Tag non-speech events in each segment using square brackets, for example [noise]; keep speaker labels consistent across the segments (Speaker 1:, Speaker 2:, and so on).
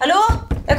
Speaker 1: Hallo? Jeg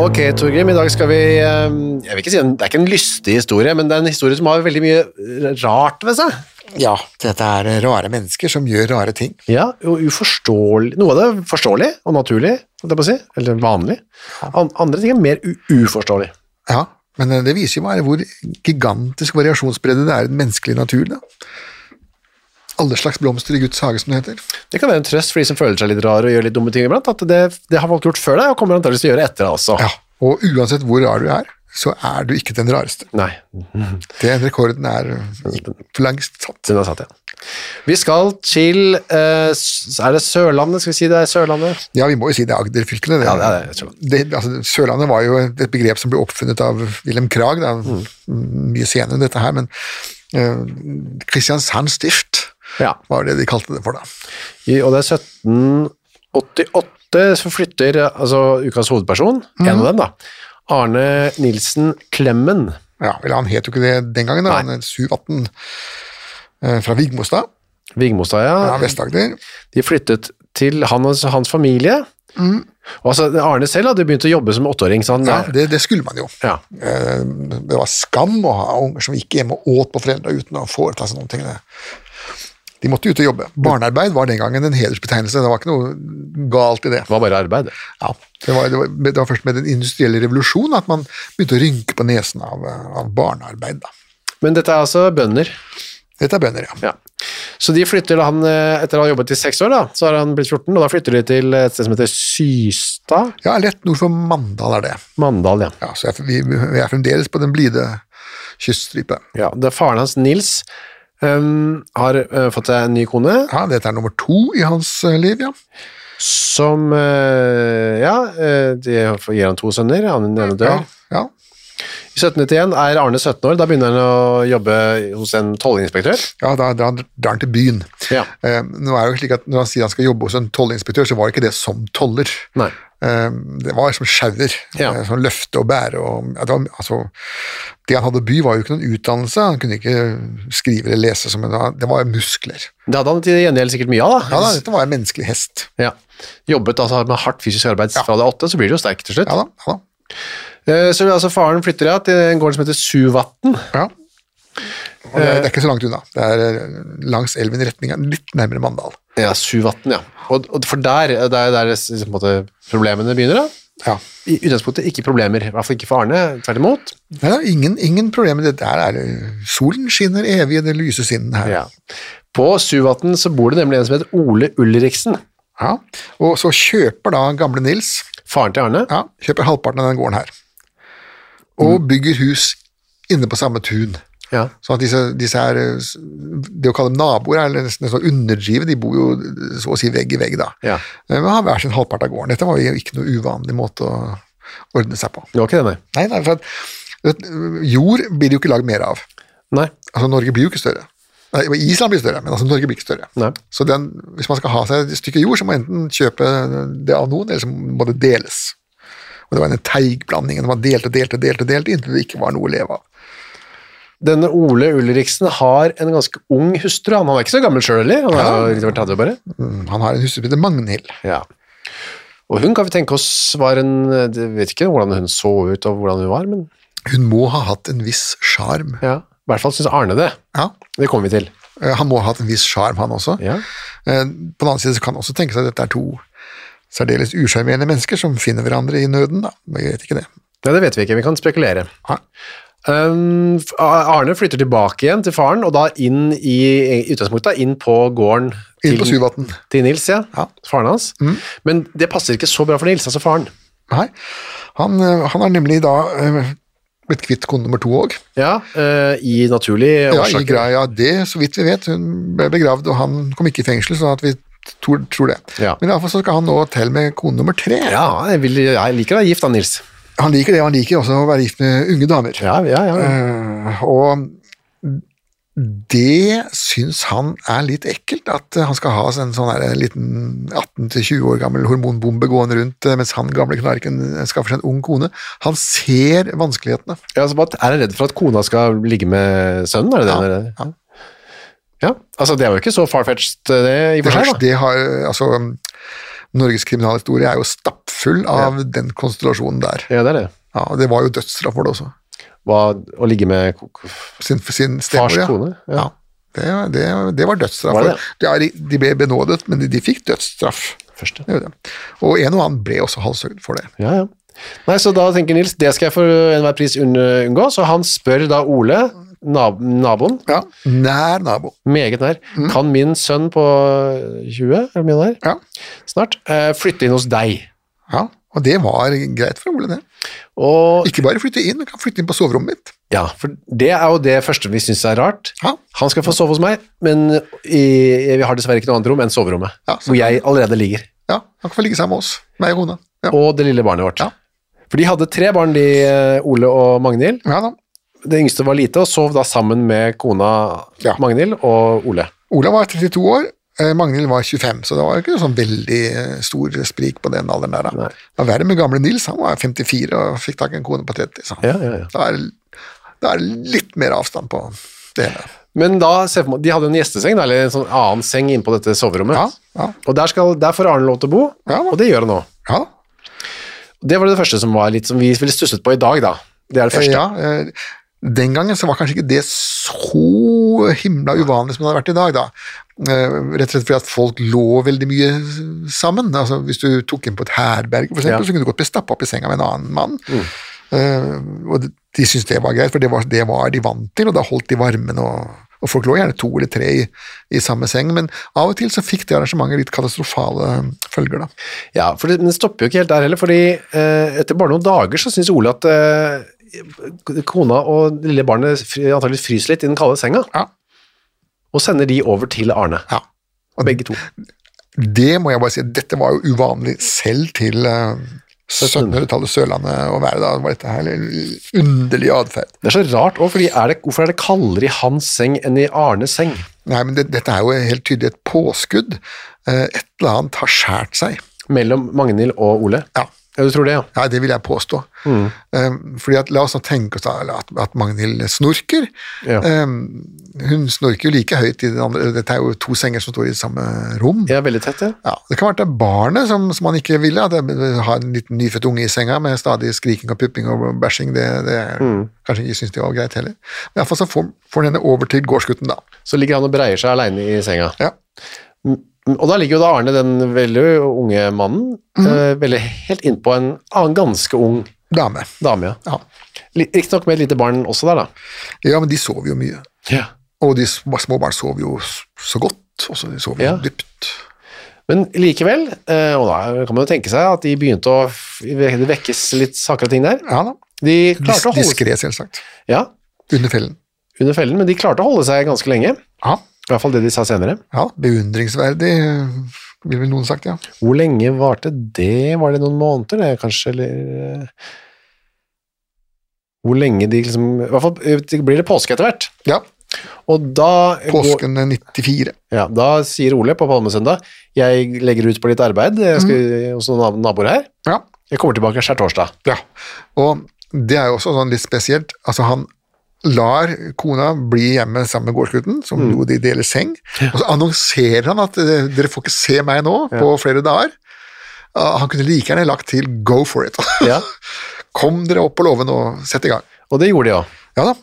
Speaker 2: Ok, Torgrim, i dag skal vi eh, Jeg vil ikke si en, Det er ikke en lystig historie, men det er en historie som har veldig mye rart ved seg.
Speaker 3: Ja, dette er rare mennesker som gjør rare ting.
Speaker 2: Ja, og uforståelig Noe av det er forståelig og naturlig, holdt jeg på å si, eller vanlig. An, andre ting er mer u uforståelig.
Speaker 3: Ja, men eh, det viser jo bare hvor gigantisk variasjonsbredde det er i den menneskelige naturen. Da. Alle slags blomster i Guds hage, som det heter.
Speaker 2: Det kan være en trøst for de som føler seg litt rare og gjør litt dumme ting iblant, at det, det har folk gjort før deg, og kommer antakeligvis til å gjøre etter deg også.
Speaker 3: Ja, og uansett hvor rar du er, så er du ikke den rareste.
Speaker 2: Nei,
Speaker 3: Den rekorden er for langst satt.
Speaker 2: den er satt, ja. Vi skal til eh, s- Er det Sørlandet? Skal vi si det er Sørlandet?
Speaker 3: Ja, vi må jo si det er Agder-fylkene.
Speaker 2: Ja, det er det, Sørlandet.
Speaker 3: det, altså, Sørlandet var jo et begrep som ble oppfunnet av Wilhelm Krag, da,
Speaker 2: Mm.
Speaker 3: mye senere enn dette her, men eh, Kristiansand stift
Speaker 2: Ja.
Speaker 3: var det de kalte det for da.
Speaker 2: I, og det er 1788 som flytter altså ukas hovedperson, en
Speaker 3: Mhm.
Speaker 2: av dem da, Arne Nilsen Klemmen.
Speaker 3: Ja, eller han het jo ikke det den gangen, da. han het Suvatn eh, fra Vigmostad,
Speaker 2: Vigmostad,
Speaker 3: fra
Speaker 2: ja.
Speaker 3: Vest-Agder.
Speaker 2: De flyttet til han og hans familie. Og altså, Arne selv hadde begynt å jobbe som åtteåring, så han...
Speaker 3: Mhm. Ja, det, det skulle man jo.
Speaker 2: Ja.
Speaker 3: Eh, Det var skam å ha unger som gikk hjemme og åt på foreldra uten å foreta seg noen ting. Det- De måtte ut og jobbe. Barnearbeid var den gangen en hedersbetegnelse, det var ikke noe galt i det.
Speaker 2: Det var bare arbeid.
Speaker 3: Ja, det var, det, var, det var først med den industrielle revolusjonen at man begynte å rynke på nesen av, eh, av barnearbeid. Da.
Speaker 2: Men dette er altså bønder.
Speaker 3: Dette er bønder, ja.
Speaker 2: Ja. Så de flytter da han, eh, etter å ha jobbet i seks år da, så har han blitt 14, og da flytter de til et sted som heter Systad,
Speaker 3: Ja, Rett nord for Mandal er det.
Speaker 2: Mandal, ja.
Speaker 3: Ja, så jeg, vi, vi er fremdeles på den blide kyststripe.
Speaker 2: Ja, det er faren hans, Nils, ehm, har eh, fått seg en ny kone,
Speaker 3: Ja, dette er nummer to i hans eh, liv, ja.
Speaker 2: som eh, Ja, eh, de gir han to sønner, han ene dør.
Speaker 3: Ja, ja.
Speaker 2: I 1791 er Arne 17 år, da begynner han å jobbe hos en tollinspektør.
Speaker 3: ja da drar han- drar han til byen.
Speaker 2: Ja.
Speaker 3: Eh, nå er det jo slik at Når han sier han skal jobbe hos en tollinspektør, så var det ikke det som toller.
Speaker 2: Nei.
Speaker 3: Eh, det var som sjauer.
Speaker 2: Ja.
Speaker 3: eh, Som løfte og bære. Og, ja, det, var, altså, det han hadde by, var jo ikke noen utdannelse. Han kunne ikke skrive eller lese. Som en, det var muskler.
Speaker 2: Det hadde han til gjengjeld sikkert mye av,
Speaker 3: Ja,
Speaker 2: da.
Speaker 3: da, dette var en menneskelig hest.
Speaker 2: Ja. Jobbet altså med hardt fysisk arbeid fra det er åtte, så blir du jo sterk til slutt.
Speaker 3: Ja da. ja da.
Speaker 2: Eh, Så altså faren flytter ja, til en gård som heter Suvatn.
Speaker 3: Ja. Og det, er, det er ikke så langt unna. Det er eh, langs elven i retning av litt nærmere Mandal.
Speaker 2: Ja, Suvatn, ja. Og, og for der, det er der liksom, på en måte, problemene begynner, da.
Speaker 3: Ja.
Speaker 2: i utgangspunktet ikke problemer, i hvert fall ikke for Arne, tvert imot.
Speaker 3: Nei, da, ingen, ingen problemer. Det der er eh, Solen skinner evig i det lyse sinnen her.
Speaker 2: På Suvatn så bor det nemlig en som heter Ole Ulriksen,
Speaker 3: Ja. Og så kjøper da gamle Nils
Speaker 2: faren til Arne.
Speaker 3: ja, kjøper halvparten av den gården her. Og bygger hus inne på samme tun.
Speaker 2: Ja.
Speaker 3: Sånn at disse, disse her, eh, s- Det å kalle dem naboer er nesten en sånn underdrive, de bor jo eh, så å si vegg i vegg, da.
Speaker 2: Ja.
Speaker 3: Eh, Men har hver sin halvpart av gården. Dette var jo ikke noe uvanlig måte å ordne seg på.
Speaker 2: Det var ikke det, nei.
Speaker 3: Nei, nei, for at, vet, du, jord blir det jo ikke lagd mer av.
Speaker 2: Nei,
Speaker 3: Altså, Norge blir jo ikke større. Nei, og Island blir større, men altså Norge blir ikke større.
Speaker 2: Nei.
Speaker 3: Så den, hvis man skal ha seg et stykke jord, så må man enten kjøpe det av noen, eller så må det deles. Og det var en teigblanding. Man delte, delte, delte, delte inntil det ikke var noe å leve av.
Speaker 2: Denne Ole Ulriksen har en ganske ung hustru. Han er ikke så gammel sjøl heller, han er jo litt over 30 bare.
Speaker 3: Mm, Han har en hustru som heter Magnhild.
Speaker 2: Ja. Og hun kan vi tenke oss var en Jeg vet ikke hvordan hun så ut og hvordan hun var, men
Speaker 3: Hun må ha hatt en viss sjarm.
Speaker 2: ja. i hvert fall syns Arne det.
Speaker 3: Ja.
Speaker 2: Det kommer vi til.
Speaker 3: Eh, Han må ha hatt en viss sjarm, han også.
Speaker 2: Ja.
Speaker 3: Eh, På den annen side så kan man også tenke seg at dette er to særdeles usjarmerende mennesker som finner hverandre i nøden, da. Men Jeg vet ikke det.
Speaker 2: Nei, det vet vi ikke. Vi kan spekulere.
Speaker 3: Ja.
Speaker 2: Um, Arne flytter tilbake igjen til faren, og da inn i, i utgangspunktet da, inn på gården
Speaker 3: Inn på Suvatn.
Speaker 2: til Nils, ja.
Speaker 3: Ja. Mm.
Speaker 2: Faren hans. Men det passer ikke så bra for Nils, altså faren.
Speaker 3: Nei. Han, eh, han har nemlig da eh, blitt kvitt kone nummer to òg.
Speaker 2: Ja, eh, I naturlige
Speaker 3: Ja, i
Speaker 2: årsaker.
Speaker 3: greia det, så vidt vi vet. Hun ble begravd, og han kom ikke i fengsel, sånn at vi tror, tror det.
Speaker 2: Ja.
Speaker 3: Men iallfall så skal han nå til med kone nummer tre.
Speaker 2: ja, jeg, vil, jeg liker å være gift, da, Nils.
Speaker 3: Han liker det, og han liker også å være gift med unge damer.
Speaker 2: Ja, ja, ja.
Speaker 3: Eh, Og det syns han er litt ekkelt, at han skal ha en sånn her liten 18-20 år gammel hormonbombe gående rundt eh, mens han gamle knarken eh, skaffer seg en ung kone. Han ser vanskelighetene.
Speaker 2: Ja, altså, bare er jeg redd for at kona skal ligge med sønnen, er det det? eller?
Speaker 3: Ja.
Speaker 2: ja. Altså, det er jo ikke så farfetched, det, i og
Speaker 3: Det,
Speaker 2: for
Speaker 3: har,
Speaker 2: seg, da.
Speaker 3: det har, altså, Norges kriminalhistorie er jo stappfull av den konstellasjonen der.
Speaker 2: Ja, det er det.
Speaker 3: Ja, og Det var jo dødsstraff for det også.
Speaker 2: Hva, å ligge med ko- ko-
Speaker 3: Sin, sin stemor,
Speaker 2: fars
Speaker 3: ja.
Speaker 2: kone?
Speaker 3: ja. Det, det, det var dødsstraff.
Speaker 2: Var det det?
Speaker 3: Ja, de, de ble benådet, men de, de fikk dødsstraff.
Speaker 2: Første.
Speaker 3: Det er jo det. Og en og annen ble også halshøyd for det.
Speaker 2: Ja, ja. Nei, så da tenker Nils, det skal jeg for enhver pris unn- unngå, så han spør da Ole, nab naboen,
Speaker 3: Ja. Nær nabo.
Speaker 2: meget nær,
Speaker 3: Mm.
Speaker 2: kan min sønn på 20, er det min der,
Speaker 3: Ja.
Speaker 2: snart, eh, flytte inn hos deg?
Speaker 3: ja. Og det var greit for Ole, det.
Speaker 2: Og,
Speaker 3: Ikke bare flytte inn, men kan flytte inn på soverommet mitt.
Speaker 2: ja, for det er jo det første vi synes er rart.
Speaker 3: Ja.
Speaker 2: Han skal få sove hos meg, men i, vi har dessverre ikke noe annet rom enn soverommet,
Speaker 3: Ja, så
Speaker 2: hvor jeg allerede ligger,
Speaker 3: Ja, Han kan få ligge sammen med oss, meg og kona. Ja.
Speaker 2: og det lille barnet vårt. For de hadde tre barn, de, eh, Ole og Magnhild.
Speaker 3: ja da.
Speaker 2: Det yngste var lite, og sov da sammen med kona
Speaker 3: Ja.
Speaker 2: Magnhild og Ole.
Speaker 3: Olav var 32 år, eh, Magnhild var 25, så det var jo ikke noe sånn veldig eh, stor sprik på den alderen der. Da. Det var verre med gamle Nils, han var 54 og fikk tak i en kone på 30. Så.
Speaker 2: Ja, ja, ja.
Speaker 3: Da, er, da er det litt mer avstand på det hele.
Speaker 2: Men da, se for meg- de hadde en gjesteseng, da, eller en sånn annen seng inne på dette soverommet.
Speaker 3: Ja, ja.
Speaker 2: Og der, skal, der får Arne lov til å bo,
Speaker 3: Ja, da.
Speaker 2: og det gjør han nå.
Speaker 3: Ja da.
Speaker 2: Det var det første som, var litt, som vi ville stusset på i dag, da. Det er det første.
Speaker 3: Ja, eh, den gangen så var kanskje ikke det så himla uvanlig som det hadde vært i dag, da. Eh, Rett og slett fordi at folk lå veldig mye sammen. Altså, hvis du tok inn på et herberge, for eksempel,
Speaker 2: Ja. Mm.
Speaker 3: så kunne du godt bli stappa opp i senga med en annen mann. Eh, og de syntes det var greit, for det var, det var de vant til, og da holdt de varmen. og, og Folk lå gjerne to eller tre i, i samme seng, men av og til så fikk det arrangementet litt katastrofale følger. da.
Speaker 2: Ja, for det, Men det stopper jo ikke helt der heller, fordi eh, etter bare noen dager så syns Ole at eh, kona og lille barnet fry- antageligvis fryser litt i den kalde senga,
Speaker 3: Ja.
Speaker 2: og sender de over til Arne.
Speaker 3: Ja. Og
Speaker 2: Begge to.
Speaker 3: Det må jeg bare si, dette var jo uvanlig selv til eh, 1700-tallet Sørlandet å være da. Det var dette her litt underlig atferd.
Speaker 2: Det er så rart òg, for hvorfor er det kaldere i hans seng enn i Arnes seng?
Speaker 3: Nei, men det, dette er jo helt tydelig et påskudd. Eh, Et eller annet har skjært seg.
Speaker 2: Mellom Magnhild og Ole?
Speaker 3: Ja.
Speaker 2: ja du tror det, ja?
Speaker 3: Ja, det vil jeg påstå. Eh, Fordi at, La oss nå tenke oss da, at, at Magnhild snorker.
Speaker 2: Ja.
Speaker 3: Eh, Hun snorker jo like høyt i den andre Dette er jo to senger som står i samme rom.
Speaker 2: Ja, veldig tett, ja.
Speaker 3: Ja, Det kan være at det er barnet som, som man ikke ville. At det har en liten nyfødt unge i senga med stadig skriking og pupping og bæsjing. Det, det er,
Speaker 2: Mm.
Speaker 3: Kanskje ikke syns det var greit heller. Men iallfall så får får den henne over til gårdsgutten, da.
Speaker 2: Så ligger han og breier seg aleine i senga. Mm,
Speaker 3: Ja.
Speaker 2: Og da ligger jo da Arne, den veldig unge mannen, eh, veldig helt innpå en annen ganske ung
Speaker 3: Dame.
Speaker 2: dame. ja.
Speaker 3: Ja.
Speaker 2: Riktignok med et lite barn også der, da.
Speaker 3: ja, men de sover jo mye.
Speaker 2: Ja.
Speaker 3: Og de sm- små barn sover jo s- så godt. Og så de sover
Speaker 2: Ja.
Speaker 3: jo dypt.
Speaker 2: Men likevel, eh, og da kan man jo tenke seg at de begynte å f- Det vekkes litt saker og ting der.
Speaker 3: Ja da.
Speaker 2: De klarte å
Speaker 3: Dis
Speaker 2: holde seg
Speaker 3: Diskré, selvsagt.
Speaker 2: ja,
Speaker 3: Under fellen.
Speaker 2: under fellen, men de klarte å holde seg ganske lenge.
Speaker 3: Ja.
Speaker 2: I hvert fall det de sa senere.
Speaker 3: ja. Beundringsverdig, vil vel noen sagt, ja.
Speaker 2: Hvor lenge varte det? Var det noen måneder, det, kanskje? Eller eh, Hvor lenge de liksom I hvert fall eh, det blir det påske etter hvert.
Speaker 3: Ja,
Speaker 2: Og da går,
Speaker 3: Påsken 94.
Speaker 2: ja, da sier Ole på Palmesøndag Jeg legger ut på litt arbeid jeg skal,
Speaker 3: Mm.
Speaker 2: hos noen nab- naboer her.
Speaker 3: Ja.
Speaker 2: Jeg kommer tilbake skjærtorsdag.
Speaker 3: Ja, og det er jo også sånn litt spesielt. Altså, han lar kona bli hjemme sammen med gårdsgutten, som jo de deler seng, og så annonserer han at eh, dere får ikke se meg nå på flere dager. Ah, Han kunne like gjerne lagt til 'go for it'. [laughs]
Speaker 2: Ja.
Speaker 3: Kom dere opp på låven og sett i gang.
Speaker 2: Og det gjorde de òg.
Speaker 3: Ja da.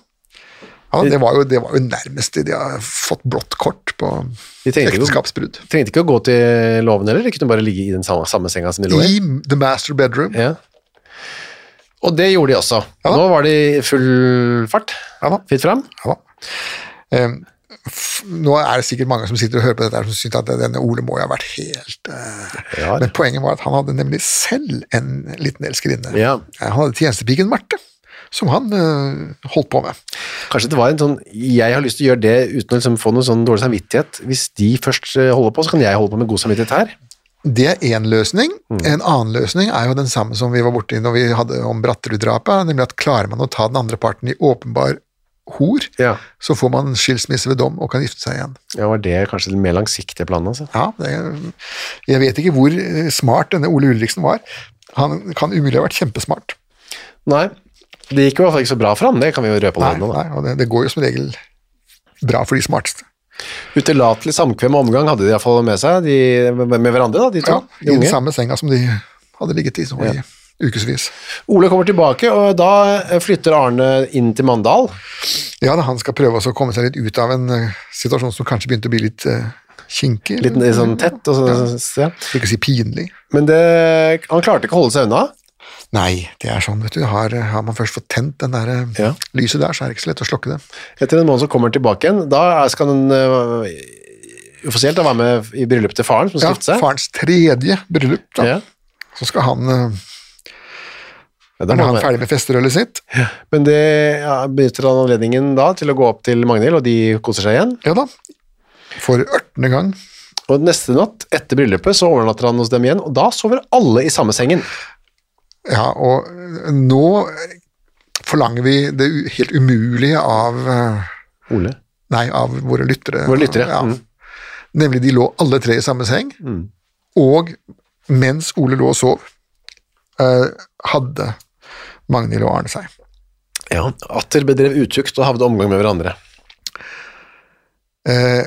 Speaker 3: Ja, det, var jo, det var jo nærmest det de har fått blått kort på
Speaker 2: De tenkte ikke,
Speaker 3: ekteskapsbrudd.
Speaker 2: trengte ikke å gå til låven heller, de kunne bare ligge i den samme, samme senga som de lå i.
Speaker 3: I the master bedroom.
Speaker 2: Ja. Og det gjorde de også.
Speaker 3: Ja da.
Speaker 2: Nå var det i full fart.
Speaker 3: Ja da.
Speaker 2: Fritt fram.
Speaker 3: Ja. Em, f- nå er det sikkert mange som sitter og hører på dette her som syns at denne Ole må jo ha vært helt eh,
Speaker 2: Rar.
Speaker 3: Men poenget var at han hadde nemlig selv en liten elskerinne.
Speaker 2: Ja.
Speaker 3: Eh, Han hadde tjenestepiken Marte, som han eh, holdt på med.
Speaker 2: Kanskje det var en sånn Jeg har lyst til å gjøre det uten å liksom få noe sånn dårlig samvittighet. Hvis de først eh, holder på, så kan jeg holde på med god samvittighet her.
Speaker 3: Det er én løsning. En annen løsning er jo den samme som vi var borti når vi hadde om Bratterud-drapet, nemlig at klarer man å ta den andre parten i åpenbar hor,
Speaker 2: Ja.
Speaker 3: så får man skilsmisse ved dom og kan gifte seg igjen.
Speaker 2: Ja, var det kanskje den mer langsiktige planen, altså?
Speaker 3: Ja, det, jeg vet ikke hvor eh, smart denne Ole Ulriksen var. Han kan umulig ha vært kjempesmart.
Speaker 2: Nei. Det gikk i hvert fall ikke så bra for ham, det kan vi jo røpe
Speaker 3: Nei,
Speaker 2: allerede nå. da.
Speaker 3: nei, og det, det går jo som regel bra for de smarteste.
Speaker 2: Utillatelig samkvem og omgang hadde de iallfall med seg, de, med med hverandre, da, de to.
Speaker 3: Ja, I
Speaker 2: de
Speaker 3: den
Speaker 2: unge.
Speaker 3: samme senga som de hadde ligget i nå i ukevis.
Speaker 2: Ole kommer tilbake, og da eh, flytter Arne inn til Mandal.
Speaker 3: Ja, da, han skal prøve også å komme seg litt ut av en eh, situasjon som kanskje begynte å bli litt eh, kinkig.
Speaker 2: Litt sånn tett. Og så, ja.
Speaker 3: For ikke å si pinlig.
Speaker 2: Men det, han klarte ikke å holde seg unna.
Speaker 3: Nei, det er sånn, vet du. Har, har man først fått tent den der eh,
Speaker 2: Ja.
Speaker 3: lyset der, så er det ikke så lett å slokke det.
Speaker 2: Etter en måned så kommer han tilbake igjen. Da er- skal han øh, offisielt da være med i bryllupet til faren som
Speaker 3: Ja,
Speaker 2: skal gifte seg.
Speaker 3: farens tredje bryllup, da.
Speaker 2: Ja.
Speaker 3: Så skal han eh,
Speaker 2: Ja, da
Speaker 3: Når
Speaker 2: må
Speaker 3: han
Speaker 2: han
Speaker 3: er
Speaker 2: være.
Speaker 3: ferdig med festerølet sitt,
Speaker 2: Men det ja, benytter han anledningen da til å gå opp til Magnhild, og de koser seg igjen.
Speaker 3: Ja da. For ørtende gang.
Speaker 2: Og neste natt, etter bryllupet, så overnatter han hos dem igjen, og da sover alle i samme sengen.
Speaker 3: Ja, og nå forlanger vi det u- helt umulige av eh,
Speaker 2: Ole.
Speaker 3: Nei, av våre lyttere.
Speaker 2: Våre lyttere,
Speaker 3: Ja.
Speaker 2: mm.
Speaker 3: Nemlig, de lå alle tre i samme seng, og mens Ole lå og sov, eh, hadde Magnhild og Arne seg.
Speaker 2: Ja, Atter bedrev utukt og havde omgang med hverandre.
Speaker 3: Eh,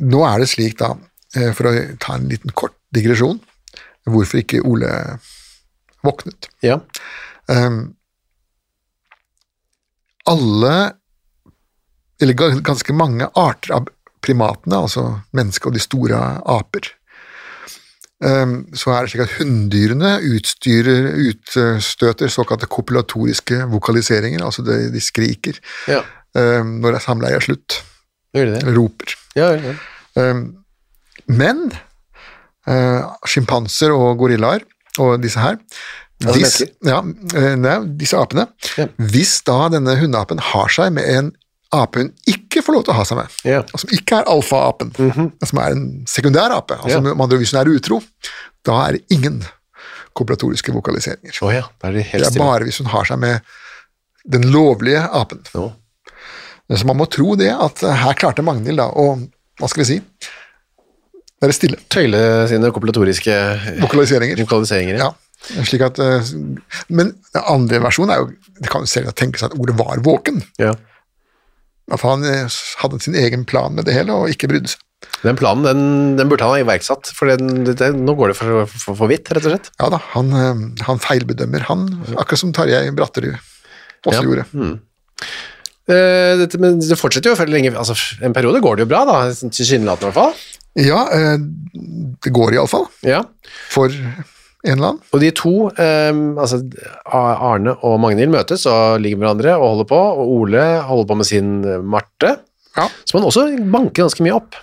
Speaker 3: nå er det slik, da, eh, for å ta en liten kort digresjon, hvorfor ikke Ole våknet.
Speaker 2: Ja,
Speaker 3: Ehm, alle, eller ga- ganske mange arter av primatene, altså mennesket og de store aper, ehm, så er det slik at hunndyrene utstyrer, utstøter såkalte kopulatoriske vokaliseringer, altså de, de skriker
Speaker 2: ja.
Speaker 3: ehm, når samleiet er slutt,
Speaker 2: Gjør de det?
Speaker 3: eller roper.
Speaker 2: Ja, ja.
Speaker 3: Ehm, Men uh, sjimpanser og gorillaer og disse her
Speaker 2: Altså
Speaker 3: hvis, ja, eh, nei, disse apene.
Speaker 2: Ja.
Speaker 3: Hvis da denne hundeapen har seg med en ape hun ikke får lov til å ha seg med,
Speaker 2: Ja.
Speaker 3: og som ikke er alfaapen, som er en sekundær ape, altså
Speaker 2: Mhm. Ja.
Speaker 3: med andre ord hvis hun er utro, da er det ingen kooperatoriske vokaliseringer.
Speaker 2: Å ja, da er de
Speaker 3: Det
Speaker 2: helt
Speaker 3: er
Speaker 2: stille.
Speaker 3: bare hvis hun har seg med den lovlige apen.
Speaker 2: Nå.
Speaker 3: Så man må tro det, at eh, her klarte Magnhild da å Hva skal vi si? Være stille.
Speaker 2: Tøyle sine eh, kompilatoriske
Speaker 3: Vokaliseringer.
Speaker 2: lokaliseringer.
Speaker 3: Ja. Slik at, eh, men den andre versjonen er jo Det kan jo selv tenkes at ordet var våken.
Speaker 2: Ja.
Speaker 3: At han eh, hadde sin egen plan med det hele og ikke brydde seg.
Speaker 2: Den planen den, den burde han ha iverksatt, for den, det, det, nå går det for, for, for vidt, rett og slett.
Speaker 3: Ja da, han, eh, han feilbedømmer, han. Akkurat som Tarjei Bratterud også
Speaker 2: Ja.
Speaker 3: gjorde.
Speaker 2: Eh, dette, men det fortsetter jo for lenge, altså en periode går det jo bra, da, sånn tilsynelatende i hvert fall.
Speaker 3: Ja, eh, det går iallfall.
Speaker 2: Ja.
Speaker 3: For en eller annen.
Speaker 2: Og de to, eh, altså A- Arne og Magnhild møtes og ligger med hverandre og holder på, og Ole holder på med sin eh, Marte,
Speaker 3: Ja.
Speaker 2: som han også banker ganske mye opp.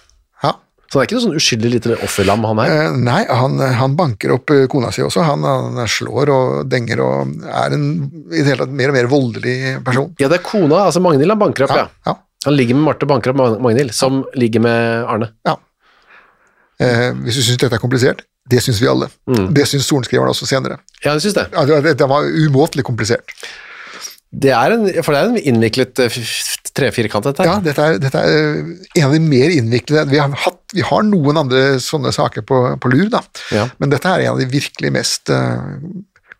Speaker 3: ja.
Speaker 2: Så han er ikke noe sånn uskyldig lite offerlam han er.
Speaker 3: Eh, Nei, han, han banker opp eh, kona si også. Han, han slår og denger og er en i det hele tatt mer og mer voldelig person.
Speaker 2: Ja, det er kona, altså Magnhild han banker opp, ja.
Speaker 3: ja.
Speaker 2: Han ligger med Marte og banker opp Mag- Magnhild, som ligger med Arne.
Speaker 3: ja. Eh, hvis du syns dette er komplisert, det syns vi
Speaker 2: Mm.
Speaker 3: alle. Det syns sorenskriveren også senere.
Speaker 2: Ja, jeg synes det.
Speaker 3: Ja, det- det- Dette var umåtelig komplisert.
Speaker 2: Det er en, for det er en innviklet eh, f- f- trefirkant, dette. her.
Speaker 3: Ja, dette er, dette er eh, en av de mer innviklede. Vi har, hatt, vi har noen andre sånne saker på, på lur, da.
Speaker 2: Ja.
Speaker 3: men dette er en av de virkelig mest eh,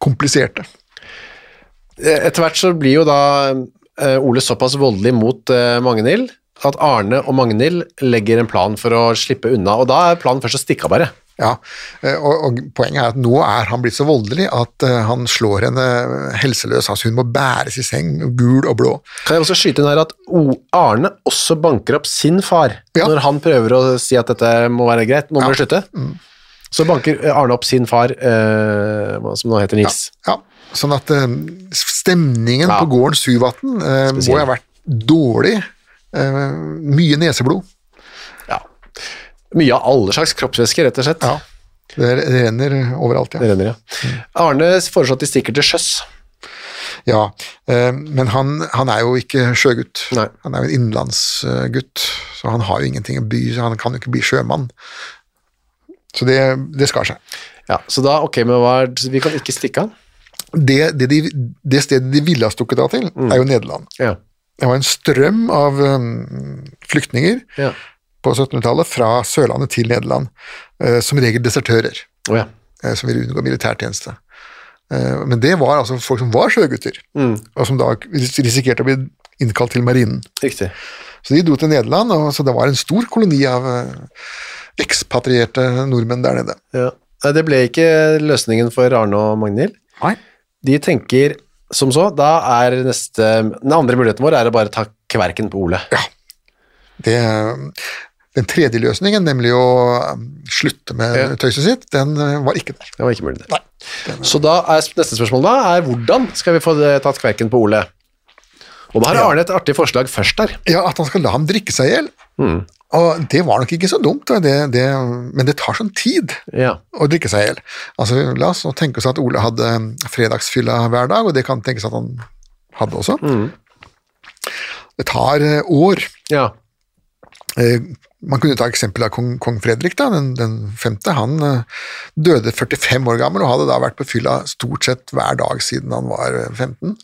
Speaker 3: kompliserte.
Speaker 2: Etter hvert så blir jo da eh, Ole såpass voldelig mot eh, Magnhild at Arne og Magnhild legger en plan for å slippe unna, og da er planen først å stikke av bare.
Speaker 3: Ja, eh, og, og Poenget er at nå er han blitt så voldelig at eh, han slår henne helseløs. Altså hun må bæres i seng, gul og blå.
Speaker 2: Kan jeg også skyte inn her at O- Arne også banker opp sin far
Speaker 3: Ja.
Speaker 2: når han prøver å si at dette må være greit, nå må vi slutte.
Speaker 3: Mm.
Speaker 2: Så banker eh, Arne opp sin far, eh, hva- som nå heter Nils.
Speaker 3: Ja, sånn at eh, stemningen
Speaker 2: Ja.
Speaker 3: på gården Syvatn eh, må
Speaker 2: Spesiell.
Speaker 3: ha vært dårlig. Eh, mye neseblod.
Speaker 2: Ja. Mye av alle slags kroppsvæsker, rett og slett.
Speaker 3: Ja. Mm. Det det renner overalt,
Speaker 2: Det
Speaker 3: ja.
Speaker 2: renner, ja. Arne foreslår at de stikker til sjøs.
Speaker 3: ja eh, men han, han er jo ikke sjøgutt.
Speaker 2: Nei.
Speaker 3: Han er jo en innenlandsgutt, så han har jo ingenting å by, så han kan jo ikke bli sjømann. Så det, det skar seg.
Speaker 2: Ja, så da, ok, men hva er, så vi kan ikke stikke av.
Speaker 3: Det, det, de, det stedet de ville ha stukket av til, er jo Nederland.
Speaker 2: Ja.
Speaker 3: Det var en strøm av eh, flyktninger
Speaker 2: Ja.
Speaker 3: på 1700-tallet fra Sørlandet til Nederland. eh, Som regel desertører
Speaker 2: Å ja.
Speaker 3: eh, som ville unngå militærtjeneste. Eh, Men det var altså folk som var sjøgutter, og som da ris- risikerte å bli innkalt til marinen.
Speaker 2: Riktig.
Speaker 3: Så de dro til Nederland, og så det var en stor koloni av eh, ekspatrierte nordmenn der nede.
Speaker 2: Ja. Nei, Det ble ikke løsningen for Arne og Magnhild.
Speaker 3: Nei.
Speaker 2: De tenker som så, da er neste Den andre muligheten vår er å bare ta kverken på Ole.
Speaker 3: Det, den tredje løsningen, nemlig å eh, slutte med
Speaker 2: Ja.
Speaker 3: tøyset sitt, den eh, var ikke der.
Speaker 2: Det var ikke mulig. det. Så da er sp- neste spørsmål da er hvordan skal vi få det, tatt kverken på Ole? Og da har Arne et artig forslag først der.
Speaker 3: Ja, At han skal la ham drikke seg i hjel. Og det var nok ikke så dumt, da, det, det, men det tar sånn tid.
Speaker 2: Ja.
Speaker 3: å drikke seg i hjel. Altså, la oss nå tenke oss at Ole hadde mm, fredagsfylla hver dag, og det kan tenkes at han hadde også. Det tar eh, år.
Speaker 2: ja.
Speaker 3: Eh, Man kunne ta eksempel av kong, kong Fredrik, da, den, den femte. Han eh, døde 45 år gammel og hadde da vært på fylla stort sett hver dag siden han var eh, 15.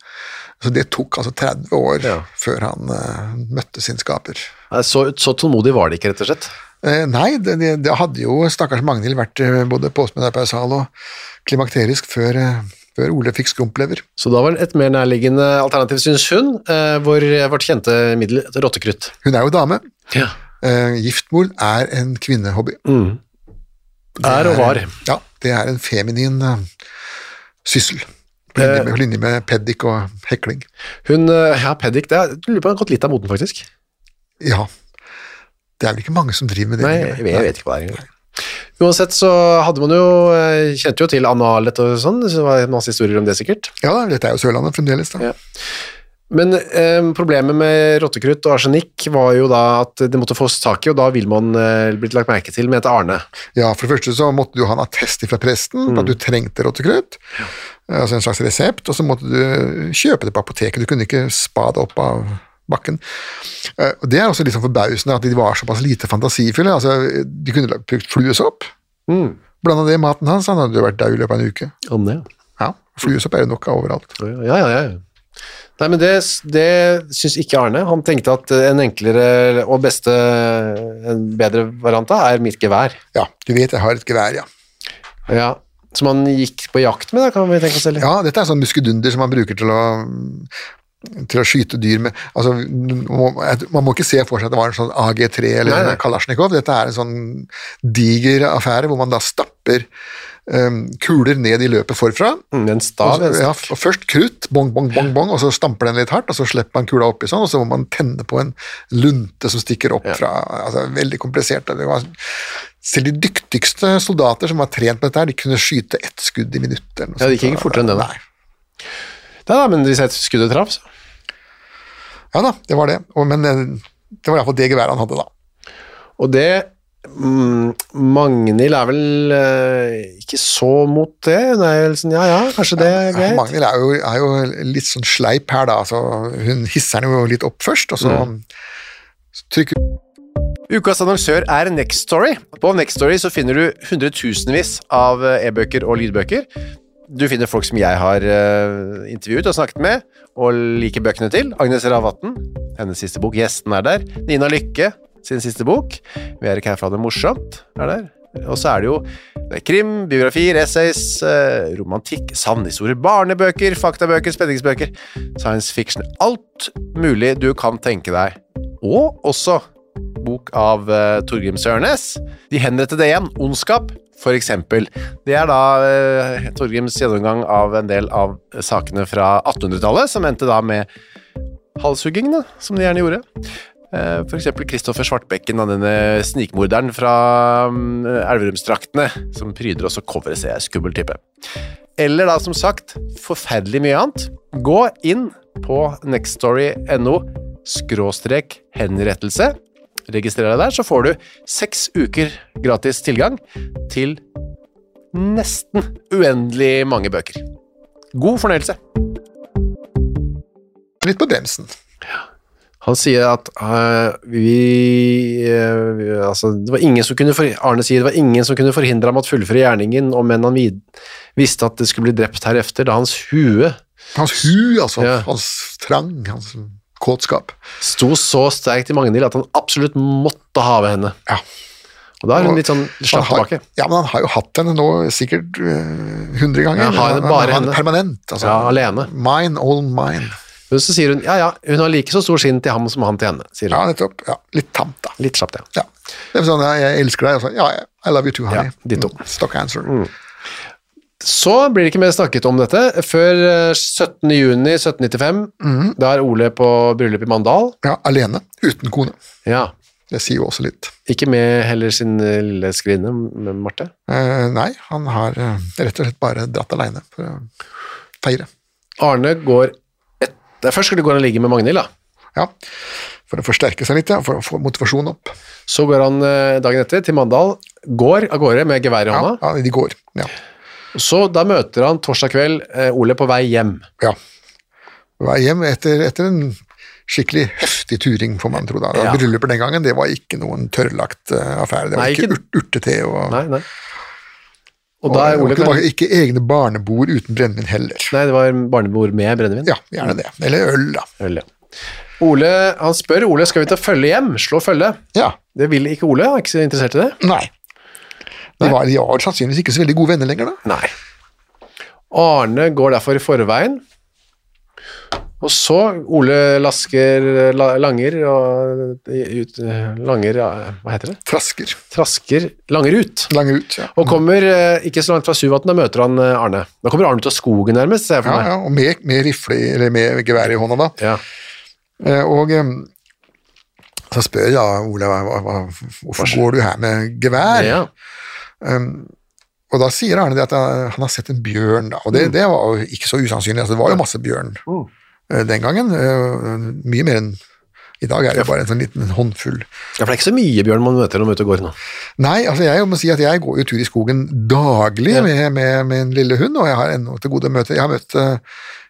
Speaker 3: Så det tok altså 30 år
Speaker 2: Ja.
Speaker 3: før han eh, møtte sin skaper.
Speaker 2: Nei, Så, så tålmodig var det ikke, rett og slett.
Speaker 3: Eh, Nei, det, det, det hadde jo stakkars Magnhild vært eh, både påsmenopausal og klimakterisk før, eh, før Ole fikk skrumplever.
Speaker 2: Så da var det et mer nærliggende alternativ, syns hun, eh, hvor vårt kjente middel rottekrutt.
Speaker 3: Hun er jo dame.
Speaker 2: Ja.
Speaker 3: Eh, Giftmord er en kvinnehobby.
Speaker 2: Er og var.
Speaker 3: Ja, det er en feminin eh, syssel. På linje
Speaker 2: Eh.
Speaker 3: med, på linje med peddik og hekling.
Speaker 2: Hun, eh, ja, Peddik, det er, jeg lurer på om hun har gått litt av moten, faktisk.
Speaker 3: Ja. Det er vel ikke mange som driver med det?
Speaker 2: Nei,
Speaker 3: lenger.
Speaker 2: jeg, jeg vet ikke hva det er engang. Uansett så hadde man jo, eh, kjente jo til analet og sånn, så det var masse historier om det sikkert.
Speaker 3: Ja da, dette er jo Sørlandet fremdeles, da.
Speaker 2: Ja. Men eh, problemet med rottekrutt og arsenikk var jo da at det måtte fås tak i, og da vil man eh, blitt lagt merke til med et Arne.
Speaker 3: Ja, for det første så måtte du ha en attest fra presten
Speaker 2: Mm.
Speaker 3: på at du trengte rottekrutt, altså en slags resept, og så måtte du kjøpe det på apoteket, du kunne ikke spa det opp av bakken. Eh, Og Det er også litt sånn forbausende at de var såpass lite fantasifulle, altså de kunne lagt- brukt fluesopp,
Speaker 2: Mm.
Speaker 3: blanda det i maten hans, han hadde jo vært død i løpet av en uke.
Speaker 2: Anne, ja.
Speaker 3: Ja, fluesopp er det nok av overalt.
Speaker 2: Ja, ja, ja. Nei, men det, det syns ikke Arne. Han tenkte at en enklere og beste, en bedre variant da, er mitt gevær.
Speaker 3: Ja, du vet jeg har et gevær, ja.
Speaker 2: Ja, som han gikk på jakt med, da, kan vi tenke oss eller?
Speaker 3: Ja, dette er sånn muskedunder som man bruker til å til å skyte dyr med altså, Man må- man må ikke se for seg at det var en sånn AG3 eller
Speaker 2: Nei, nei.
Speaker 3: Kalasjnikov. Dette er en sånn diger affære hvor man da stapper um, kuler ned i løpet forfra.
Speaker 2: Mm, En
Speaker 3: Og,
Speaker 2: stav,
Speaker 3: så-
Speaker 2: en
Speaker 3: Altså, ja,
Speaker 2: stav.
Speaker 3: og først krutt, bong, bong, bong, bong, og så stamper den litt hardt, og så slipper man kula oppi sånn, og så må man tenne på en lunte som stikker opp fra altså, Veldig komplisert. Det var, selv de dyktigste soldater som var trent på dette, her, de kunne skyte ett skudd i minuttet. eller noe
Speaker 2: Ja, det
Speaker 3: sånt.
Speaker 2: gikk ikke fortere enn det, da.
Speaker 3: Nei.
Speaker 2: Nei, nei, men hvis jeg skuddet traff, så.
Speaker 3: Ja da, det var det. Og, men eh, det var iallfall det geværet han hadde da.
Speaker 2: Og det mm, Magnhild er vel eh, ikke så mot det. Hun er jo litt sånn, ja ja, kanskje det er greit.
Speaker 3: Magnhild er, jo- er jo litt sånn sleip her, da. Så hun hisser han jo litt opp først, og så
Speaker 2: Mm.
Speaker 3: så trykker
Speaker 2: Ukas annonsør er Next Story. På Next Story så finner du hundretusenvis av eh, e-bøker og lydbøker. Du finner folk som jeg har eh, intervjuet og snakket med, og liker bøkene til. Agnes Ravatn, hennes siste bok. Gjesten er der. Nina Lykke, sin siste bok. Vi er ikke her for å ha det morsomt, er der. Og så er det jo det er krim, biografier, essays, eh, romantikk, sannhistorier, barnebøker, faktabøker, spenningsbøker, science fiction. Alt mulig du kan tenke deg. Og også bok av eh, Torgrim Sørnes. De henrettede igjen, ondskap, for eksempel. Det er da eh, Torgrims gjennomgang av en del av sakene fra 1800-tallet, som endte da med halshuggingene, som de gjerne gjorde. Eh, For eksempel Kristoffer Svartbekken, da, denne snikmorderen fra mm, Elverumsdraktene, som pryder også coveret, ser jeg. Skummel type. Eller da, som sagt, forferdelig mye annet. Gå inn på nextstory.no skråstrek henrettelse. Registrer deg der, så får du seks uker gratis tilgang til nesten uendelig mange bøker. God fornøyelse.
Speaker 3: Litt på bremsen.
Speaker 2: Han sier at eh, vi, eh, vi altså, det var ingen som kunne for, Arne sier det var ingen som kunne forhindre ham at fullføre gjerningen, om enn han vid, visste at det skulle bli drept herefter, da hans hue
Speaker 3: Hans hu, altså.
Speaker 2: Ja.
Speaker 3: Hans trang, hans kåtskap.
Speaker 2: sto så sterkt i Magnhild at han absolutt måtte have henne.
Speaker 3: Ja.
Speaker 2: Og da er hun litt sånn
Speaker 3: Han
Speaker 2: slapp
Speaker 3: har-
Speaker 2: tilbake.
Speaker 3: Ja, men han har jo hatt henne nå sikkert øh, hundre
Speaker 2: Ja,
Speaker 3: ganger.
Speaker 2: har henne
Speaker 3: Han-
Speaker 2: bare
Speaker 3: han-
Speaker 2: henne.
Speaker 3: Permanent. Altså.
Speaker 2: Ja, alene.
Speaker 3: Mine, all mine.
Speaker 2: Men så sier hun ja, ja, hun har like så stor skinn til ham som han til henne. sier hun.
Speaker 3: Ja, nettopp. Ja, litt tamt, da.
Speaker 2: Litt kjapt, ja.
Speaker 3: Ja. Det er sånn, ja, jeg elsker deg. og så, Ja, I love you too, honey.
Speaker 2: Ja, ditto.
Speaker 3: Mm, Stock answer.
Speaker 2: Så blir det ikke mer snakket om dette før eh, 17. juni 1795.
Speaker 3: Mhm.
Speaker 2: Da er Ole på bryllup i Mandal.
Speaker 3: Ja, alene, uten kone.
Speaker 2: Ja,
Speaker 3: Det sier jo også litt.
Speaker 2: Ikke med heller sin eh, lille skrinne, med Marte.
Speaker 3: Eh, nei, han har eh, rett og slett bare dratt alene for å feire.
Speaker 2: Arne går et... Nei, Først skulle gå og ligge med Magnhild, da.
Speaker 3: Ja, for å forsterke seg litt, ja, for å få motivasjonen opp.
Speaker 2: Så går han eh, dagen etter til Mandal, går av gårde med gevær i
Speaker 3: Ja,
Speaker 2: hånda.
Speaker 3: ja de går. Ja.
Speaker 2: Så da møter han torsdag kveld eh, Ole på vei hjem.
Speaker 3: ja. Vei hjem etter, etter en skikkelig heftig turing, får man tro. da.
Speaker 2: Ja.
Speaker 3: Bryllupet den gangen, det var ikke noen tørrlagt eh, affære. Det
Speaker 2: Nei,
Speaker 3: var ikke,
Speaker 2: ikke-
Speaker 3: urt- urtete og,
Speaker 2: Nei, nei. Og da er
Speaker 3: og
Speaker 2: Ole
Speaker 3: det var
Speaker 2: klar.
Speaker 3: ikke egne barnebord uten brennevin heller.
Speaker 2: Nei, det var barnebord med brennevin.
Speaker 3: Ja, gjerne det. Eller øl, da.
Speaker 2: Vel, ja. Ole, han spør Ole skal vi ta følge hjem. Slå følge.
Speaker 3: Ja,
Speaker 2: Det vil ikke Ole, han er ikke så interessert i det.
Speaker 3: nei. De var, de var sannsynligvis ikke så veldig gode venner lenger, da.
Speaker 2: Nei. Arne går derfor i forveien. Og så Ole Lasker la, Langer og ut, Langer ja, Hva heter det?
Speaker 3: Trasker.
Speaker 2: Trasker Langer ut.
Speaker 3: Lange ut, ja.
Speaker 2: Og kommer eh, ikke så langt fra Suvatn, da møter han eh, Arne. Da kommer Arne ut av skogen, nærmest, ser jeg
Speaker 3: Ja,
Speaker 2: for meg.
Speaker 3: ja, og med, med rifle, i- eller med gevær i hånda, da.
Speaker 2: Ja.
Speaker 3: Eh, Og eh, så spør jeg da Ola hva, hva, hva- hvorfor går du her med gevær?
Speaker 2: Ja.
Speaker 3: Og da sier Arne det at eh, han han har sett en bjørn, da. Og det, det var jo ikke så usannsynlig. Altså, det var jo masse bjørn eh, den gangen. eh, Mye mer enn i dag er det jo bare en sånn liten håndfull.
Speaker 2: ja, for det er ikke så mye bjørn man møter når man er ute og går nå.
Speaker 3: Nei, altså jeg må si at jeg går jo tur i skogen daglig
Speaker 2: Ja.
Speaker 3: med, med min lille hund, og jeg har ennå til gode å møte Jeg har møtt eh,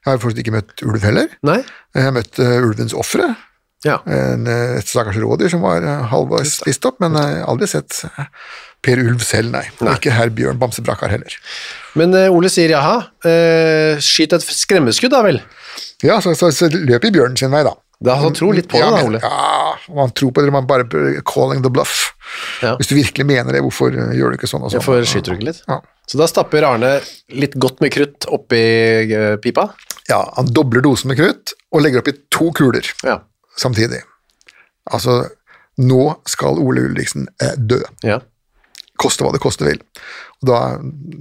Speaker 3: jeg har fortsatt ikke møtt ulv heller.
Speaker 2: Nei?
Speaker 3: Jeg har møtt eh, ulvens ofre.
Speaker 2: Ja.
Speaker 3: En, eh, Et stakkars rådyr som var eh, halvveis spist opp, men jeg har aldri sett eh, Per Ulv selv, nei. Og Ikke herr Bjørn Bamsebrakar heller.
Speaker 2: Men eh, Ole sier jaha, eh, skyt et skremmeskudd da vel.
Speaker 3: Ja, så, så, så løper bjørnen sin vei, da.
Speaker 2: Da, han tror litt på
Speaker 3: ja,
Speaker 2: det, da,
Speaker 3: men-
Speaker 2: Ole.
Speaker 3: Ja, man tror på det, man bare calling the bluff.
Speaker 2: Ja.
Speaker 3: Hvis du virkelig mener det, hvorfor eh, gjør du ikke sånn og sånn?
Speaker 2: Hvorfor skyter du ikke litt?
Speaker 3: Ja.
Speaker 2: Så da stapper Arne litt godt med krutt oppi eh, pipa.
Speaker 3: Ja, han dobler dosen med krutt og legger oppi to kuler
Speaker 2: Ja.
Speaker 3: samtidig. Altså, nå skal Ole Ulriksen eh, dø,
Speaker 2: ja.
Speaker 3: koste hva det koste vil. Og da,